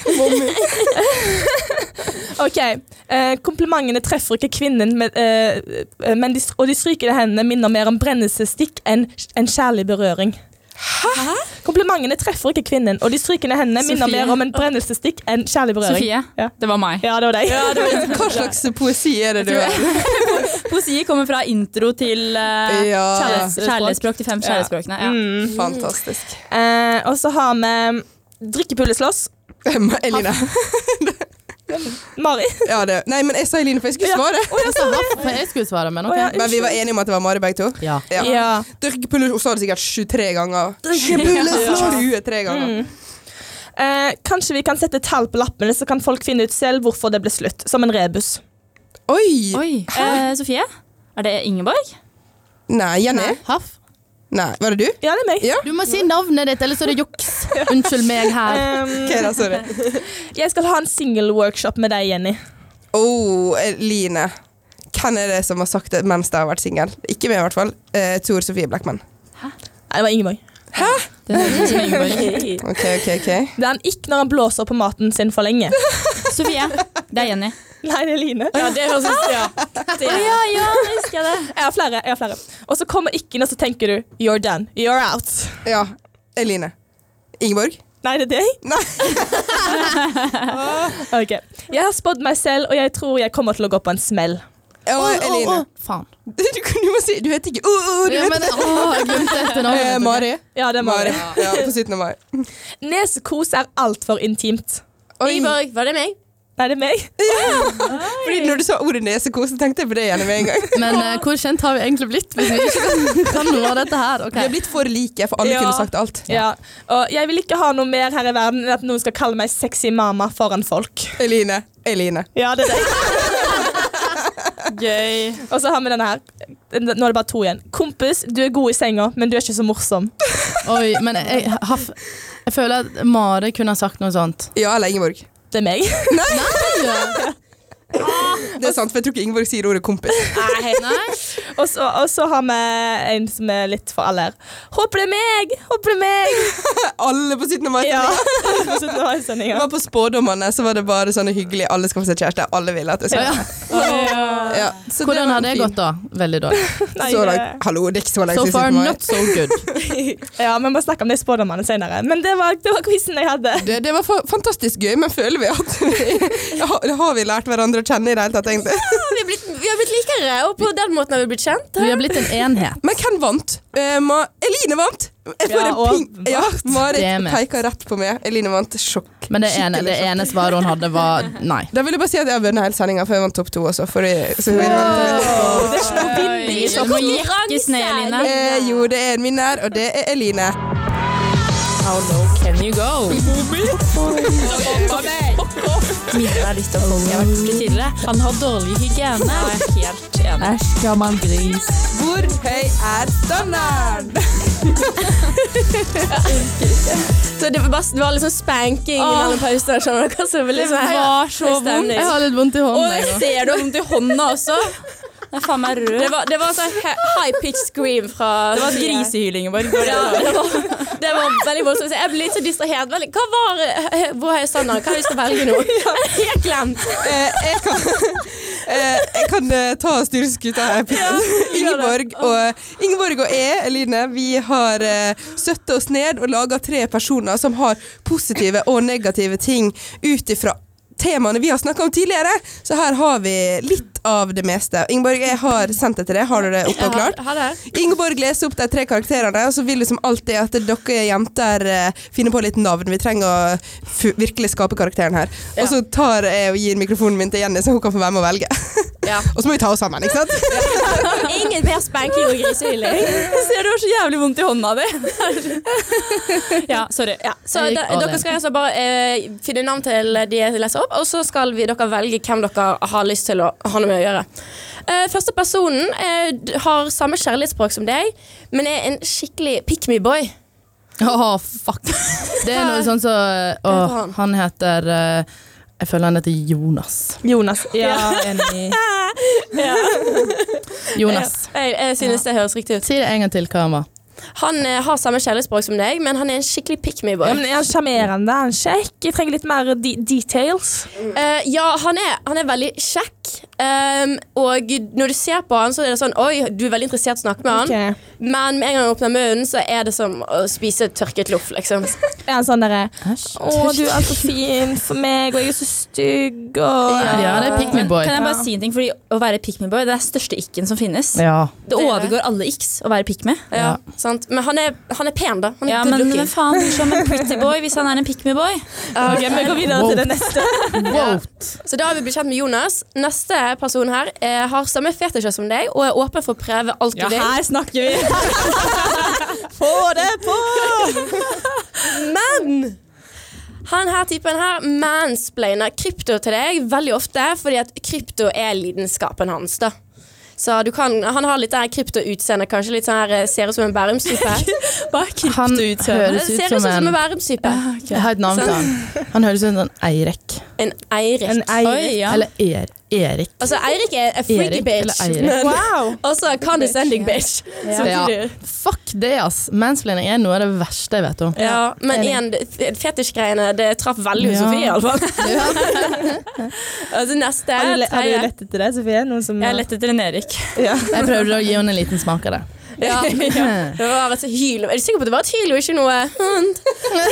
Ok, eh, Komplimentene treffer ikke kvinnen, men, eh, men de, og de strykende hendene minner mer om brennelsesstikk enn en kjærlig berøring. Hæ? Komplimentene treffer ikke kvinnen, og de strykende hendene minner
Sofie.
mer om en brennelsesstikk enn kjærlig berøring.
Sofie,
Ja.
det var meg.
Ja, det var deg.
Hva slags poesi er det du har?
Poesi kommer fra intro til eh,
Ja.
kjærlighets- kjærlighetsspråk til fem kjærlighetsspråkene.
Mm.
Ja.
Fantastisk.
Eh, og så har vi drikkepulet slåss.
Eline.
Mari.
Ja, det. Nei, men jeg sa Eline, for jeg skulle
Ja.
svare.
For jeg skulle svare, men
Å,
ok.
ja.
Men vi var enige om at det var Mari, begge to.
Ja.
Ja.
Ja.
Drikkepulle Hun sa det sikkert 23 ganger. Drikkepulle
Ja.
23 ganger.
Mm. Eh, kanskje vi kan sette tall på lappene, så kan folk finne ut selv hvorfor det ble slutt. Som en rebus.
Oi!
Oi. Eh, Sofie, er det Ingeborg?
Nei, Jenny? Nei.
Haff,
Var det du?
Ja, det er meg.
Ja.
du må si navnet ditt, ellers er det juks. Unnskyld meg her.
Eh,
Ok, da, sorry.
jeg skal ha en single-workshop med deg, Jenny.
Oh, Eline. Hvem er det som har sagt det mens de har vært singel? Ikke meg, i hvert fall. Eh, Tor Sofie Blackman.
Nei, det var Ingeborg.
Det høres ut som Ingeborg.
Ok, ok, ok.
Det er han ikke når han blåser på maten sin for lenge.
Sofie, det er Jenny.
Nei, det er Line.
Ja, det høres ut ja. Det er-
Ja, ja, husker jeg det.
Jeg har flere. jeg har flere Og så kommer ikke og så tenker du You're done. You're out.
Ja, Eline. Ingeborg?
Nei, det er deg.
Nei.
Ok Jeg har spådd meg selv, og jeg tror jeg kommer til å gå på en smell.
Ja,
Å, å,
Eline.
å, Faen.
Du, kunne jo bare si Du heter ikke Å, å, du
Ja, men,
heter
å, jeg glemte dette
Eh,
navnet.
Mari.
Ja, det er
Mari.
Mari.
Ja, på 17. mai.
Nesekos er altfor intimt.
Oi.
Ingeborg, var det meg?
Nei, det er meg.
Fordi når du sa ordet nesekos, så tenkte jeg på det igjen med en gang.
Men eh, hvor kjent har vi egentlig blitt hvis vi ikke kan noe av dette her?
Vi
Ok.
har blitt for like, for alle
Ja.
kunne sagt alt.
Ja. Og jeg vil ikke ha noe mer her i verden enn at noen skal kalle meg sexy mama foran folk.
Eline. Eline.
Ja, det er det.
Gøy.
Og så har vi denne her. Nå er det bare to igjen. Kompis, du er god i senga, men du er ikke så morsom.
Oi, men jeg, Haff, jeg føler at Mari kunne ha sagt noe sånt.
Ja eller Ingeborg.
Det er meg.
Det er
Altså-
sant, for jeg tror ikke Ingeborg sier ordet kompis.
Nei.
Og så, og så har vi en som er litt for alle her. Håper det er meg! Håper det er meg!
Alle på 17. mai.
Ja. Så nå har jeg sendinga.
var på spådommene, så var det bare sånne hyggelige Alle skal få seg kjæreste. Alle ville at jeg skulle.
Ja.
Ja. Så
Hvordan
var
har det
fint.
gått, da? Veldig dårlig.
Nei,
Så
eh,
langt. Hallo, det er ikke så lenge
So
siden
far,
17. mai.
not so good.
Ja, Vi må snakke om de spådommene senere. Men det var, det var quizen jeg hadde.
Det, det var fa fantastisk gøy, men føler vi at vi har, har vi lært hverandre å kjenne i det hele tatt, egentlig?
Vi har, blitt, vi har blitt likere, og på den måten har vi blitt kjent.
Vi har blitt en enhet.
Men hvem vant? Eh, Ma Eline vant! Jeg får
Ja,
en ping.
åpenbart.
Ja, Marit
Damn it.
peker rett på meg. Eline vant. Sjokk.
Men det ene,
Skikkelig
det
sjokk.
ene svaret hun hadde, var nei.
Da vil jeg bare si at jeg har vunnet hele sendinga, for jeg vant topp to også. Fordi, så vi
Det er ikke noe vinning i
Du
så
må
fall.
jekkes ned, Eline.
eh, jo, det er en vinner, og det er Eline.
Han har dårlig hygiene. Jeg er helt enig.
Hvor høy er standarden?
Så det var, bare, det var liksom spanking mellom pausene. Skjønner dere? Så det var liksom,
var så
høy stemning.
Jeg har litt vondt i
Og
hånden.
jeg
jeg nå.
ser det
Vondt i hånda også. Det er faen meg rød.
Det var, det var sånn high-pitched scream fra
Det var grisehyl, Ingeborg. Det var
Ja, det var, det var veldig voldsomt. Så Jeg ble litt så distrahert. Veldig- Hva var eh, Hvor høy standard? Hva er det vi skal velge nå? Jeg har glemt.
Eh, jeg kan, eh, jeg kan eh, ta styreskuta her. Ingeborg og, Ingeborg og jeg, Eline, vi har eh, støttet oss ned og laga tre personer som har positive og negative ting ut ifra temaene vi har snakka om tidligere. Så her har vi litt av det meste. Ingeborg, jeg har sendt det til deg. Har du det oppe og klart?
Ha, ha det.
Ingeborg leser opp de tre karakterene, og så vil liksom det som alltid at dere jenter eh, finner på litt navn. Vi trenger å fu- virkelig skape karakteren her. Og så tar jeg og gir mikrofonen min til Jenny, så hun kan få være med å velge.
Ja.
og så må vi ta oss sammen, ikke sant?
Ingen mer spanking og grisehylling.
Jeg ser du har så jævlig vondt i hånda di. Ja, sorry.
Ja, så
Jeg gikk
de,
all
dere
in.
skal altså bare eh, finne navn til de jeg leser opp, og så skal vi, dere velge hvem dere har lyst til å ha noe med å gjøre. Eh, første personen eh, d- har samme kjærlighetsspråk som deg, men er en skikkelig pick me boy.
Å, fuck. Det er noe sånn som så, Å, han heter eh, Jeg føler han heter Jonas.
Jonas. Ja, enig.
Jonas.
Jeg, jeg synes det høres riktig ut.
Si det en gang til hva han var.
Han eh, har samme kjærlighetsspråk som deg, men han er en skikkelig pick me boy.
Ja, men Er han sjarmerende? Er han kjekk? Jeg trenger litt mer de details.
Eh, ja, han er, han er veldig kjekk. ehm, og når du ser på han, så er det sånn Oi, du er veldig interessert i å snakke med han.
Ok.
Men med en gang han åpner munnen, så er det som å spise tørket loff, liksom.
Er han sånn derre
Æsj.
Å, du er så fin for meg, og jeg er så stygg, og
Ja, det er pick me boy.
Kan jeg bare si en ting? Fordi Å være pick me boy det er største ikken som finnes.
Ja.
Det overgår alle iks å være pick me.
Ja, sant? Men han er, han er pen, da. Han er
Ja,
good
men
looking.
hvem faen bryr seg om en pretty boy hvis han er en pick me boy?
Ok, Vi går videre til det neste.
Wout.
Så da har vi blitt kjent med Jonas. Neste person her eh, har samme fetisjer som deg og er åpen for å prøve alt du vil.
snakker vi!
Få det på!
Men han her typen her mansplainer krypto til deg veldig ofte, fordi at krypto er lidenskapen hans. da. Så du kan, Han har litt det her krypto-utseende, kanskje litt sånn her, eh, ser ut som en Bærums-type.
Bare krypto
Han
ut, så.
høres- ut
Ser ut
som
som
en-
en Bærums-type.
Jeg har et navn til han. Han høres ut som en Eirik.
En Eirik.
En eier.
Oi, ja.
Eller er Erik.
altså, Eirik er en freaky
Erik
bitch.
eller Eirik.
Wow!
Og så condescending bitch.
Ja.
Samtidig.
Fuck det, ass. Mansplaining er noe av det verste jeg vet om.
Ja, men igjen, det- fetisjgreiene det traff veldig hos
Ja.
Sofie, iallfall. altså neste
Har du, le- har du
tredje.
lett etter det, Sofie? Noen som
Jeg lette etter en Erik.
Jeg prøvde å gi henne en liten smak av det.
Ja. Det var et hyl. Er du sikker på at det var et hyl og ikke noe hund?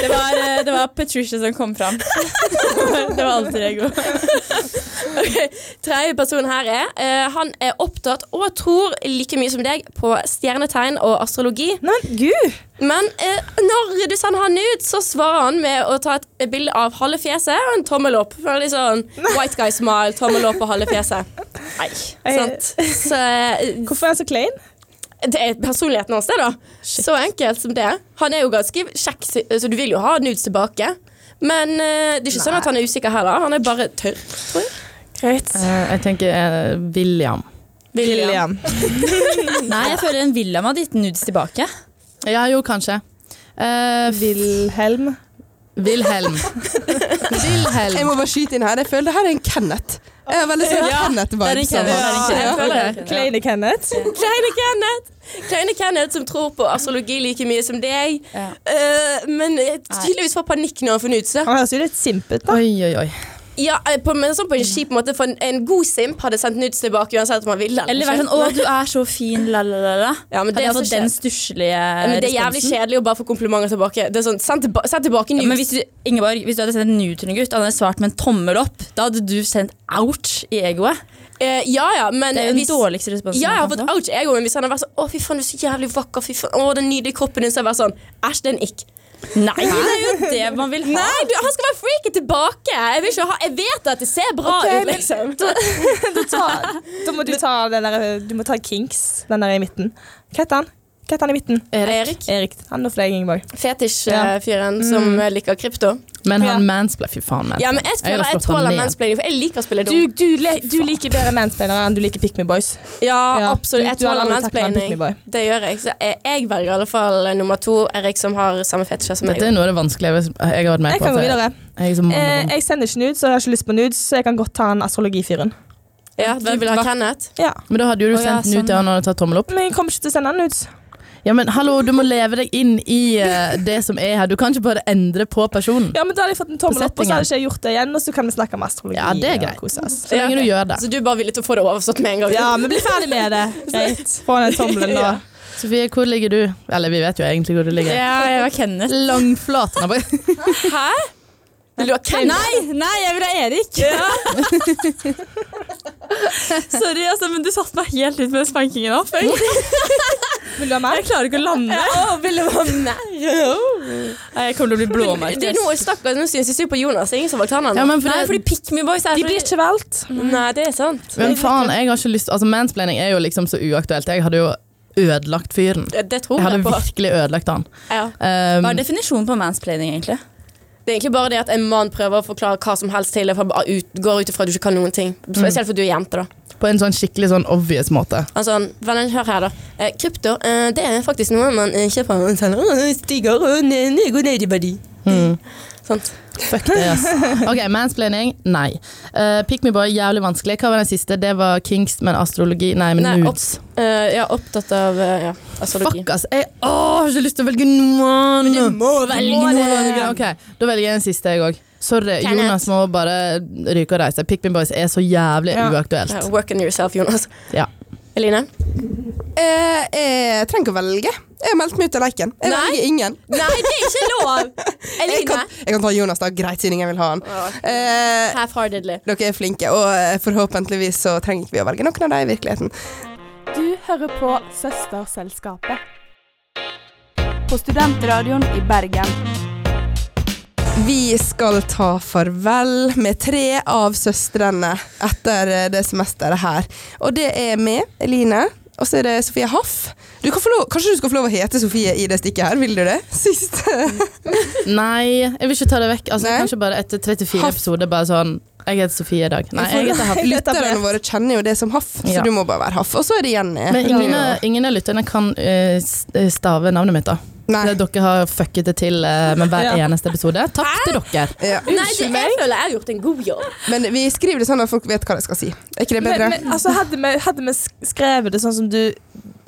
Det var, eh, det var Patricia som kom fram. Det var alltid ego.
Ok, Tredje person her er eh, Han er opptatt og tror like mye som deg på stjernetegn og astrologi.
Nei, men gud!
Men eh, når du sender han ut, så svarer han med å ta et bilde av halve fjeset og en tommel opp. For det er litt sånn White guy smile, tommel opp og halve fjeset. Nei, sant? Så eh,
Hvorfor er han så klein?
det er personligheten hans, det, da. Så enkelt som det. Han er jo ganske kjekk, så du vil jo ha nudes tilbake. Men eh, det er ikke sånn at han er usikker heller. Han er bare tørr.
Greit.
Eh, Jeg tenker eh, William.
William.
Nei, jeg føler en William hadde gitt nudes tilbake.
Ja, jo, kanskje. Eh,
Wilhelm.
Wilhelm.
Jeg
Wilhelm.
må bare skyte inn her. Jeg føler det her er en Kenneth. Jeg har veldig sånn
det er en
Kenneth-vibes. av
Kenneth, det er
han.
en
Ja.
Kenneth. føler det.
Ok.
Kleine Kenneth.
Kleine Kenneth. Kleine Kenneth som tror på astrologi like mye som deg.
Ja.
Eh, men eh, tydeligvis får panikk når han får nudes. da.
Han høres jo litt simp ut, da.
Oi, oi, oi.
Ja, eh, på, men sånn på en kjip måte, for en, en god simp hadde sendt nudes tilbake uansett om han ville.
Eller vært sånn 'Å, du er så fin', la, la, la. la.
Ja, men
Hadde
det
jeg
er så
fått den
kjedelig.
stusslige
Ja, men det er jævlig
responsen.
kjedelig å bare få komplimenter tilbake. Det er sånn, Send, tilba send tilbake
Ja,
nudes.
men hvis du, Ingeborg, hvis du hadde sendt en nude til en gutt, hadde jeg svart med en tommel opp. Da hadde du sendt ouch i egoet.
Eh, ja, ja, men
Det er jo den
hvis,
dårligste responsen.
Ja, jeg har
man kan
fått
få.
ouch ego, men hvis han har vært sånn 'Å, fy faen, du er så jævlig vakker', fy faen, 'Å, den nydelige kroppen din', så har jeg vært sånn Æsj, det er en ikk.
Nei, det er jo det man vil ha.
Nei, du, han skal være freaky tilbake! Jeg, vil ikke ha, jeg vet at det ser bra
Ok,
ut,
men-
liksom.
Da må du ta den der, du må ta Kinks, den der i midten. Hva heter han? Hva heter han i midten?
Erik.
Erik. Han er for deg, Ingeborg.
Fetisj-fyren som eh, liker krypto.
Men
Ja.
han mansplainer. Fy faen,
Ja,
mansplain.
men jeg,
hadde
føler jeg
slått han
tåler
ned.
mansplaining, for jeg liker å spille
Du,
dum.
du, le- du liker bedre mansplainere enn du liker Pick Me Boys.
Ja,
Ja.
absolutt. Jeg
Du- du har
tåler
aldri taklet en
mansplaining.
pick-me-boy.
Det gjør jeg. Så jeg, jeg velger i alle fall nummer to, Erik, som har samme fetisjer som
Dette er
meg.
noe av det vanskelige jeg har vært med
Jeg
på.
kan gå videre.
Jeg er så mann
Eh,
og mann.
jeg sender ikke nudes, og jeg har ikke lyst på nudes, så jeg kan godt ta en astrologifyren.
Ja, hvem vil ha Kenneth?
Ja.
Men da hadde jo du
Å, ja,
sendt den ut til han og tatt tommel opp.
Men jeg kommer ikke til å sende han nudes.
Ja, men hallo, du må leve deg inn i eh, det som er her. Du kan ikke bare endre på personen.
Ja, men Da hadde jeg fått en tommel
På
opp, og så hadde ikke jeg gjort det igjen. Og så kan vi snakke om astrologi.
Ja, det er
og
greit.
kose oss.
Så lenge du gjør det.
Så du er bare villig til å få det overstått med en gang?
Ja, vi blir ferdig med det. Greit. Få den tommelen, da.
Sofie, hvor ligger du? Eller vi vet jo egentlig hvor du ligger.
Ja, jeg var Kenneth.
Langflaten. av-
Hæ? Vil du ha Kenneth?
Nei, nei, jeg vil ha Erik! Sorry, altså, men du satte meg helt ut med den spankingen opp. Jeg
Vil du ha mer?
klarer ikke å lande. Nei, jeg kommer til å bli
Det er
blåmerket.
noe stakkars, Nå synes jeg synd på Jonas. Det er ingen som valgte han. han.
Ja, men for
Nei,
det-
fordi Pick Me Boys er
De blir ikke valgt.
Altså, Nei, det er sant.
Men faen, jeg har ikke lyst Altså, mansplaining er jo liksom så uaktuelt. Jeg hadde jo ødelagt fyren.
Det, Oh, det tror
Jeg hadde
jeg på.
virkelig ødelagt han.
Ja.
Um,
Hva er definisjonen på mansplaining, egentlig?
Det er egentlig bare det at en mann prøver å forklare hva som helst til deg, for bare ut, går ut ifra at du ikke kan noen ting.
Mm.
Spesielt for du er jente, da.
på en sånn skikkelig sånn obvious måte.
Altså, vennen, hør her, da. Eh, krypto, eh, det er faktisk noe man eh, kjøper og selger, og det stiger, og det det går ned i verdi.
Mm.
Mm. Sant?
Fuck det, ass. Ok, mansplaining, nei. Uh, Pick me boy, jævlig vanskelig. Hva var den siste? Det var Kings, men astrologi Nei, men
Nei,
nudes.
Eh, ja, opptatt av eh, ja. astrologi.
Fuck, ass. Jeg åh, har ikke lyst til å velge noen.
Men du må velge
Må
noen.
velge. Ok, Da velger jeg den siste, jeg òg. Sorry,
Kenneth.
Jonas må bare ryke og reise. Pick me boys er så jævlig
Ja.
uaktuelt.
Ja, Work on yourself, Jonas.
Ja.
Eline?
Eh, jeg trenger ikke å velge. Jeg har meldt meg ut av leken. Jeg
Nei.
velger ingen.
Nei, det er ikke lov!
Jeg
Eline,
kan, jeg kan ta Jonas, da. Greit, siden ingen vil ha han. Eh,
half-heartedly.
dere er flinke, og eh, forhåpentligvis så trenger ikke vi å velge noen av dem i virkeligheten.
Du hører på Søsterselskapet. På studentradioen i Bergen.
Vi skal ta farvel med tre av søstrene etter eh, det semesteret her. Og det er meg, Eline, og så er det Sofie Haff. Du kan få lov, kanskje du skal få lov å hete Sofie i det stikket her, vil du det? Siste.
Nei, jeg vil ikke ta det vekk. Altså,
Nei.
Kanskje bare etter 34
Haff.
episoder bare sånn Jeg heter Sofie i dag. Nei, jeg heter Haff.
Lytterne våre kjenner jo det som Haff, så
Ja.
du må bare være Haff. Og så er det Jenny.
Men ingen, av- ingen av lytterne kan eh, s- stave navnet mitt, da.
Nei.
Det Dere har fucket det til eh, med hver
Ja.
eneste episode. Takk til dere.
Ja.
Nei, det, jeg føler jeg har gjort en god jobb.
Men vi skriver det sånn at folk vet hva de skal si. Er ikke det bedre?
Men, men, altså, hadde, vi, hadde vi sk- skrevet det sånn som du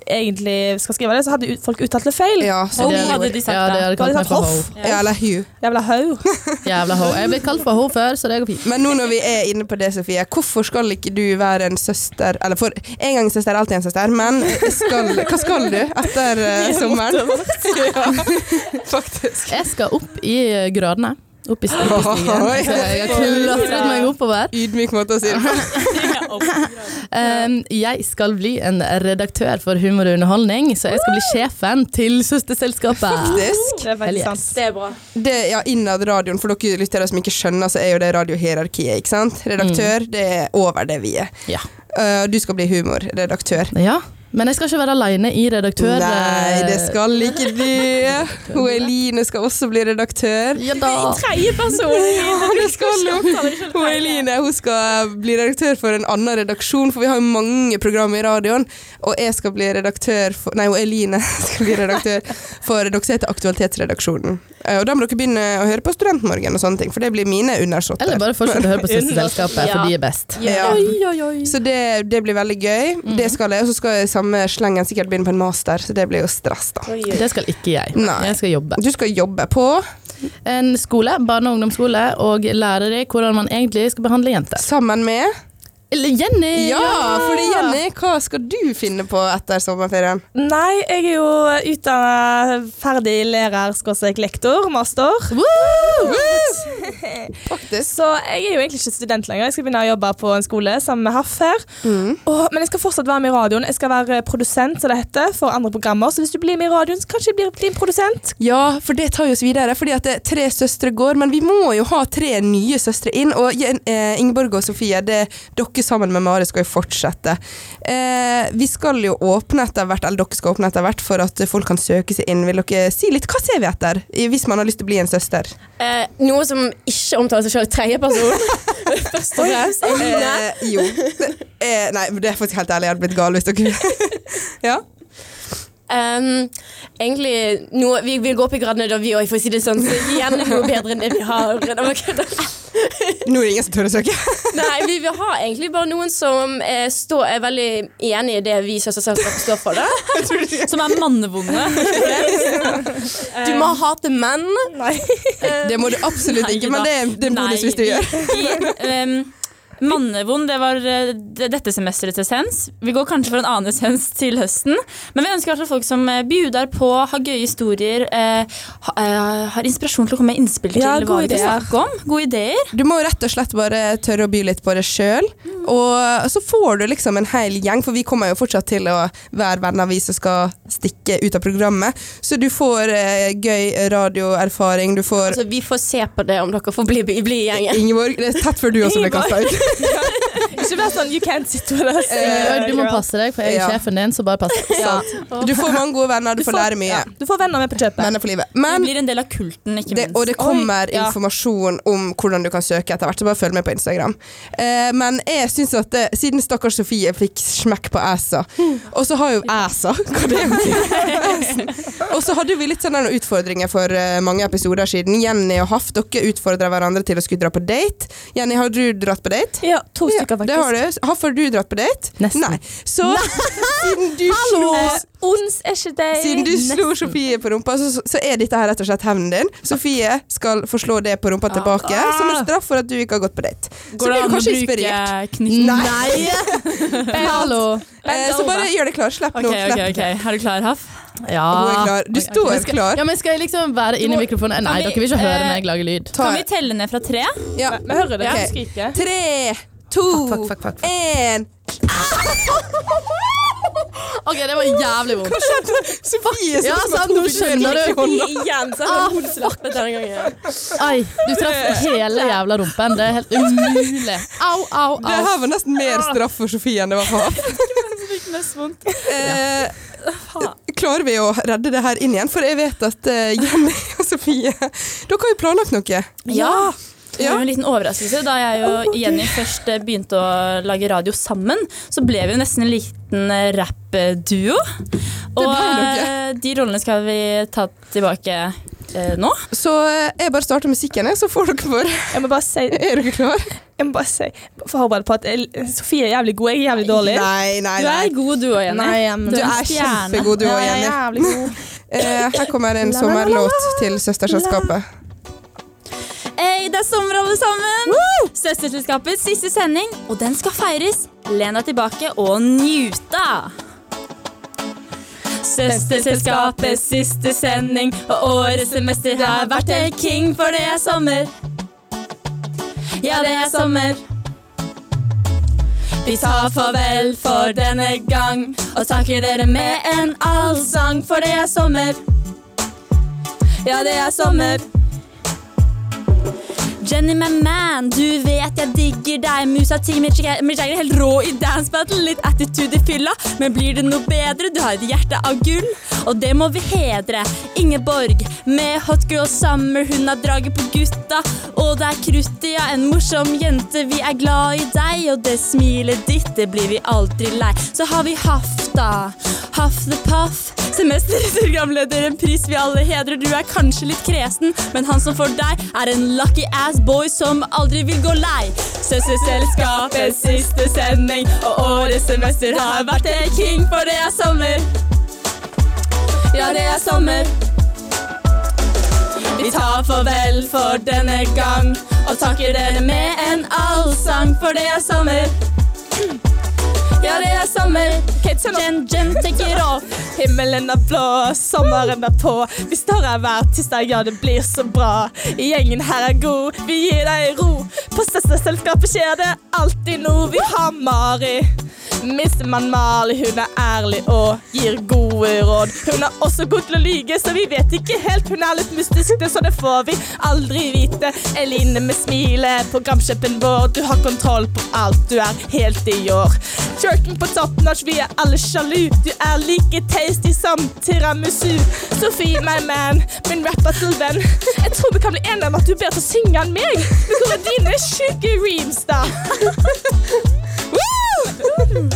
egentlig skal skrive det, så hadde ut- folk uttalt det feil.
ja, så,
Ho
Det-
hadde de sagt
ja, det.
da.
Hadde
Bare
kalt meg
tatt
for
hoff.
ho.
ja, eller Hugh.
Jævla haug.
Jævla ho. Jeg ble kalt for ho før, så det går fint.
Men nå når vi er inne på det, Sofie, hvorfor skal ikke du være en søster Eller for en gang en søster, alltid en søster, men skal, hva skal du etter eh, sommeren? ja, faktisk.
Jeg skal opp i eh, gradene. Opp i stigen. Så
Oi.
Jeg har klatret meg oppover.
Ydmyk måte å si det på.
Um, jeg skal bli en redaktør for humor og underholdning, så jeg skal bli sjefen til søsterselskapet.
Faktisk.
Det er
Hell
veldig
yes.
sant.
Det er bra.
Det, ja, innad radioen, for dere lyttere som ikke skjønner, så er jo det radiohierarkiet. ikke sant? Redaktør, det er over det vi er.
Ja.
Eh, du skal bli humorredaktør.
ja. Men jeg skal ikke være aleine i redaktør...
Nei, det skal ikke du. Hun Eline skal også bli redaktør.
Ja da.
Tredje person.
Ja, det skal hun. Hun Eline hun skal bli redaktør for en annen redaksjon, for vi har jo mange programmer i radioen. Og jeg skal bli redaktør for Nei, hun Eline skal bli redaktør for Dere heter Aktualitetsredaksjonen. Eh, Og da må dere begynne å høre på Studentmorgen og sånne ting, for det blir mine undersåtter.
Eller bare fortsett å høre på Søsterselskapet, for de er best.
Ja. Så det, det blir veldig gøy. Det skal jeg, Og så skal jeg i samme slengen sikkert begynne på en master, så det blir jo stress, da.
Det skal ikke jeg.
Nei.
Jeg skal jobbe.
Du skal jobbe på
En skole, barne- og ungdomsskole, og lære deg hvordan man egentlig skal behandle jenter.
sammen med
Eller Jenny!
Ja, fordi Jenny, hva skal du finne på etter sommerferien?
Nei, jeg er jo utdanna ferdig lærer, skråstrek lektor, master.
Faktisk.
Så jeg er jo egentlig ikke student lenger. Jeg skal begynne å jobbe på en skole sammen med Haff her.
Mm.
Og- men jeg skal fortsatt være med i radioen. Jeg skal være eh, produsent, som det heter, for andre programmer. Så hvis du blir med i radioen, så kanskje jeg blir din produsent.
Ja, for det tar jo oss videre. Fordi at det, tre søstre går, men vi må jo ha tre nye søstre inn. Og Jen- eh, Ingeborg og Sofie, det, dere sammen med Mari skal jo fortsette. Eh, vi skal jo åpne etter hvert, eller dere skal åpne etter hvert, for at folk kan søke seg inn. Vil dere si litt hva ser vi etter, i- hvis man har lyst til å bli en søster?
Eh, noe som ikke omtaler seg selv i tredje person. Først og fremst. Eline.
Eh, jo. Eh, nei, men det er faktisk helt ærlig, jeg hadde blitt gal hvis dere Ja?
Ehm, egentlig, noe, vi vil gå opp i gradene da vi òg, for å si det sånn. Så igjen noe bedre enn det vi har. Det var ikke det.
Nå er det ingen som tør å søke.
Nei, vi vil ha egentlig bare noen som eh, står, er veldig enig i det vi søsterselskap står for. Da.
Som er mannevonde.
Du må hate menn.
Det må du absolutt
Nei
ikke, men det, er- det er en
da.
bonus hvis du
Nei,
gjør.
ikke. Um, Mannevond, det var eh, det- dette semesterets essens. Vi går kanskje for en annen essens til høsten. Men vi ønsker i hvert fall folk som eh, bjuder på, har gøye historier, eh, ha, eh, har inspirasjon til å komme med innspill til
Ja,
hva
gode
vi kan
ideer.
snakke om. Gode ideer.
Du må jo rett og slett bare tørre å by litt på det sjøl. Og så får du liksom en hel gjeng, for vi kommer jo fortsatt til å være venner, vi som skal stikke ut av programmet. Så du får eh, gøy radioerfaring, du får
Altså, vi får se på det om dere får bli, bli i gjengen.
Ingeborg, det er tett før du også blir kasta ut.
Ikke vær sånn you can't sit with us.
Eh,
Ingeborg, Du må passe deg, for jeg
Ja.
er sjefen din, så bare pass deg.
Du får mange gode venner, du får lære mye.
ja, du får venner med på kjøpet.
Venner for livet.
Det
Men
blir en del av kulten, ikke
det,
minst.
og det kommer
Oi, ja.
informasjon om hvordan du kan søke etter hvert, så bare følg med på Instagram. Eh, men jeg syns at det, siden stakkars Sofie fikk smekk på æsa, og så har jo æsa Hva det betyr? Æsen. Og så hadde vi litt sånne utfordringer for eh, mange episoder siden. Jenny og Haff, dere utfordra hverandre til å skulle dra på date. Jenny, har du dratt på date?
Ja, to stykker,
det har
faktisk.
du. Haff, har du dratt på date?
Nesten.
Nei. Så siden du slo
Eh, Ons er ikke deg.
siden du slo Sofie på rumpa, så, så er dette her rett og slett hevnen din. Sofie skal få slå det på rumpa tilbake som en straff for at du ikke har gått på date. Så
Går det
blir du
an å
kanskje
bruke
inspirert.
kniven?
Hallo.
Eh, så bare gjør deg klar. Slipp
Ok,
nå.
ok,
Slipp.
ok. Er du klar, Haff?
Ja.
Hun er klar. Du står
Men Ah, skal,
klar.
Ja, men skal jeg liksom være inni mikrofonen? Nei,
Kan vi-
dere vil ikke høre
eh,
meg lage lyd.
Ta-
Kan vi telle ned fra tre?
ja.
Vi hører det.
Ok.
Okay. Skriker.
Tre, to, én
Ok, det var jævlig vondt.
Sofie
Ja,
som
sant, nå skjønner du.
Igjen, så har hun slappet Ah, denne gangen.
Ai, du traff hele jævla rumpen. Det er helt umulig. Au, au,
Det
au.
her var nesten mer straff for Sofie enn det var for ham. Eh, klarer vi å redde det her inn igjen? For jeg vet at eh, Jenny og Sofie Dere har jo planlagt noe.
Ja. Det
Ja.
var jo en liten overraskelse. Da jeg og Jenny først eh, begynte å lage radio sammen, så ble vi jo nesten en liten eh, rappduo. Og
dere.
eh, de rollene skal vi ta tilbake eh, nå.
Så eh, jeg bare starter musikken, jeg, så får dere bare
Jeg må bare si,
Er dere klare?
jeg må bare si forbered på at jeg, Sofie er jævlig god, jeg er jævlig dårlig.
Nei, nei,
Du er god du òg, Jenny. en
Du er
stjerne.
kjempegod, du
Ja,
òg,
jeg er
Jenny.
jævlig god.
Eh, her kommer en sommerlåt til Søsterselskapet.
Hey, det er sommer, alle sammen! Søsterselskapets siste sending, og den skal feires. Len deg tilbake og njuta! Søsterselskapets siste sending, og årets semester har vært helt king, for det er sommer. Ja, det er sommer. Vi tar farvel for denne gang, og takker dere med en allsang, for det er sommer. Ja, det er sommer. Jenny, my man, du vet jeg digger deg. Musa ti, Mick Jagger Mick Jagger er helt rå i dance battle. Litt attitude i fylla, men blir det noe bedre? Du har et hjerte av gull, og det må vi hedre. Ingeborg med hot girl summer, hun har draget på gutta. Og det er kruttet, ja, en morsom jente. Vi er glad i deg, og det smilet ditt, det blir vi aldri lei. Så har vi Hafta, Haff the Puff. Semesterets programleder, en pris vi alle hedrer. Du er kanskje litt kresen, men han som får deg, er en lucky ass boy som aldri vil gå lei. Søsterselskapets siste sending, og årets semester har vært det king, for det er sommer. Ja, det er sommer. Vi tar farvel for denne gang, og takker dere med en allsang, for det er sommer. Ja, det er sommer. Jen, Jen, take it off.
Himmelen er blå, sommeren er på. Vi står her hver tirsdag, ja, det blir så bra. Gjengen her er god, vi gir deg ro. På søsterselskapet skjer det alltid noe. Vi har Mari. Minstemann Mali, hun er ærlig og gir gode råd. Hun er også god til å lyge, så vi vet ikke helt. Hun er litt mystisk, det, så det får vi aldri vite. Eline med smilet, programsjefen vår, du har kontroll på alt. Du er helt i år. Kjørten på toppnotch, vi er alle sjalu. Du er like tasty som tiramisu. Sofie, my man, min rapper-til-venn. Jeg tror vi kan bli enige om at du er bedre til å synge enn meg. Men hvor er dine sjuke reams, da? Woo!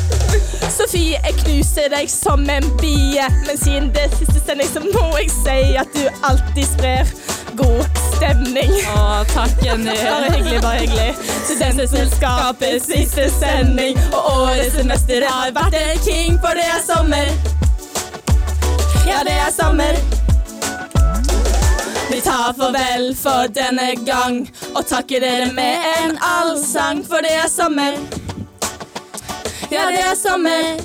Sofie, jeg knuser deg som en bie. Men siden det er siste sending, så må jeg si at du alltid sprer god stemning.
Å, takk, Jenny.
Bare hyggelig, bare hyggelig. Studentselskapets siste sending. Og årets semester har vært en king, for det er sommer. Ja, det er sommer. Vi tar farvel for denne gang og takker dere med en allsang, for det er sommer. Ja, det er sommer.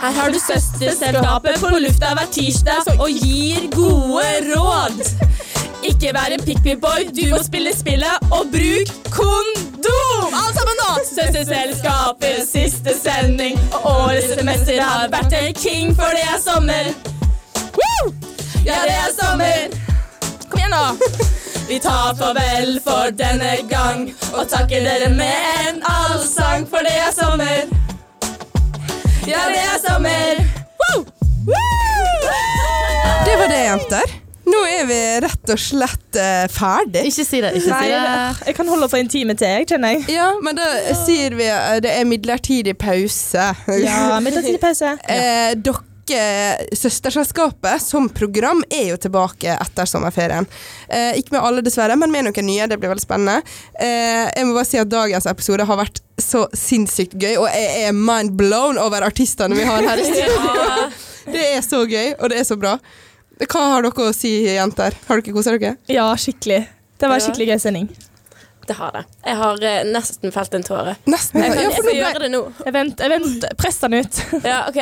Her har du søsterselskapet på lufta hver tirsdag og gir gode råd. Ikke vær en pick-me-boy, du må spille spillet og bruk kondom! Alle sammen nå! Søsterselskapets siste sending, og årets semester har vært en king, for det er sommer. Woo! Ja, det er sommer. Kom igjen, nå. Vi tar farvel for denne gang, og takker dere med en allsang, for det er sommer. Ja, det er sommer. Woo! Woo!
Det var det, jenter. Nå er vi rett og slett eh, ferdig.
Ikke si det. Ikke si det.
jeg kan holde for en time til, jeg, kjenner jeg.
Ja, men da sier vi eh, det er midlertidig pause.
midlertidig pause.
Eh, dere tenker Søsterselskapet som program er jo tilbake etter sommerferien. Eh, ikke med alle, dessverre, men med noen nye. Det blir veldig spennende. Eh, jeg må bare si at dagens episode har vært så sinnssykt gøy, og jeg er mind blown over artistene vi har her i studio. Det er så gøy, og det er så bra. Hva har dere å si, jenter? Har dere kosa dere?
Ja, skikkelig. Det var en
Ja.
skikkelig gøy sending.
Det har det. Jeg har eh, nesten felt en tåre.
Nesten.
Jeg kan
Ja,
jeg
for
får
nå ble,
gjøre det nå.
Jeg vent, jeg vent, press den ut.
Ja, ok.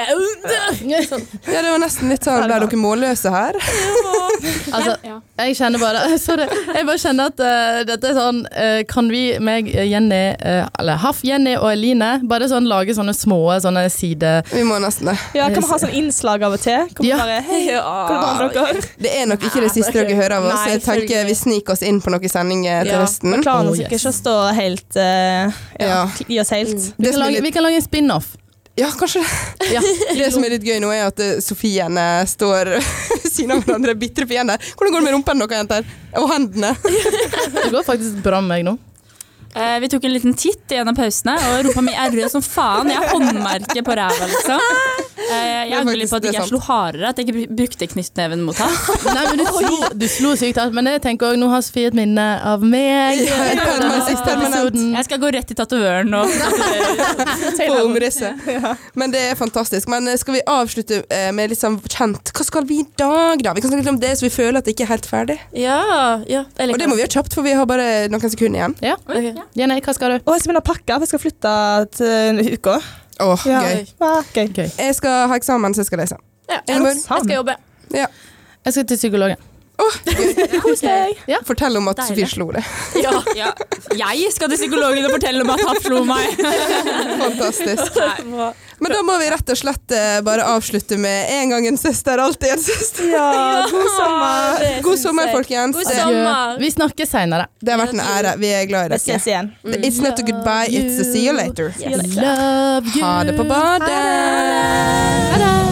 Sånn.
ja, det var nesten litt sånn Ble dere målløse her?
Altså, jeg kjenner bare Sorry. Jeg bare kjenner at eh, dette er sånn eh, Kan vi, meg, eh, Jenny, eh, eller Haff, Jenny og Eline, bare sånn lage sånne små sånne side...
Vi må nesten det.
Ja, kan vi ha sånn innslag av og til? Kan vi
Ja.
bare, hei, hvordan går det med dere?
Det er nok ikke det siste dere hører av oss.
Nei,
Jeg tenker Vi sniker oss inn på noen sendinger til
Ja.
høsten.
Men klarer
Oh,
nok
yes.
ikke å stå helt, eh, ja, Mm.
Ja.
i oss helt.
Vi
Det
kan
som er
lage,
litt-
vi kan lage en spin-off.
Ja, kanskje det.
Ja.
Det som er litt gøy nå, er at eh, sofiene står ved siden av hverandre, bitre fiender. Hvordan går det med rumpen deres, jenter? Og hendene?
Det går faktisk bra med meg nå.
Eh, vi tok en liten titt i en av pausene, og rumpa mi er rød som faen. Jeg har håndmerke på ræva, liksom. Eh, jeg
Det er
angrer litt
faktisk-
på at
det er
jeg ikke
sant.
slo hardere, at jeg ikke br- brukte knyttneven mot ham.
Nei, men du slo, du slo sykt hardt. Men jeg tenker også, nå har Sofie et minne av meg.
Ja, et permanent- et permanent.
Jeg skal gå rett i tatovøren nå.
På omrisset. Men det er fantastisk. Men eh, skal vi avslutte eh, med litt sånn kjent Hva skal vi i dag, da? Vi kan snakke litt om det, så vi føler at det ikke er helt ferdig.
Ja, ja. Jeg
Og det må vi gjøre kjapt, for vi har bare noen sekunder igjen.
Ja.
Ok.
Jenny, hva skal du?
Og jeg skal begynne å pakke, for jeg skal flytte til en uke.
Åh,
Ja.
gøy.
Ja, gøy.
Gøy.
Jeg skal ha eksamen, så jeg skal lese.
Ja,
Ingeborg?
jeg skal jobbe.
Jeg skal til psykologen.
Kos deg.
Fortell om at Sofie
Deilig.
slo det.
Ja. Ja. Jeg skal til psykologen og fortelle om at han slo meg.
Fantastisk. Men da må vi rett og slett eh, bare avslutte med en gang en søster, alltid en søster.
Ja, god sommer.
det
God
syns
sommer,
jeg.
folkens.
God
Det-
sommer.
Vi snakkes seinere.
Det har vært en ære. Vi er glad i
Vi
dere.
ses igjen.
It's not a goodbye, it's a see you later.
Yes.
Love you.
Ha det på badet.
Ha det.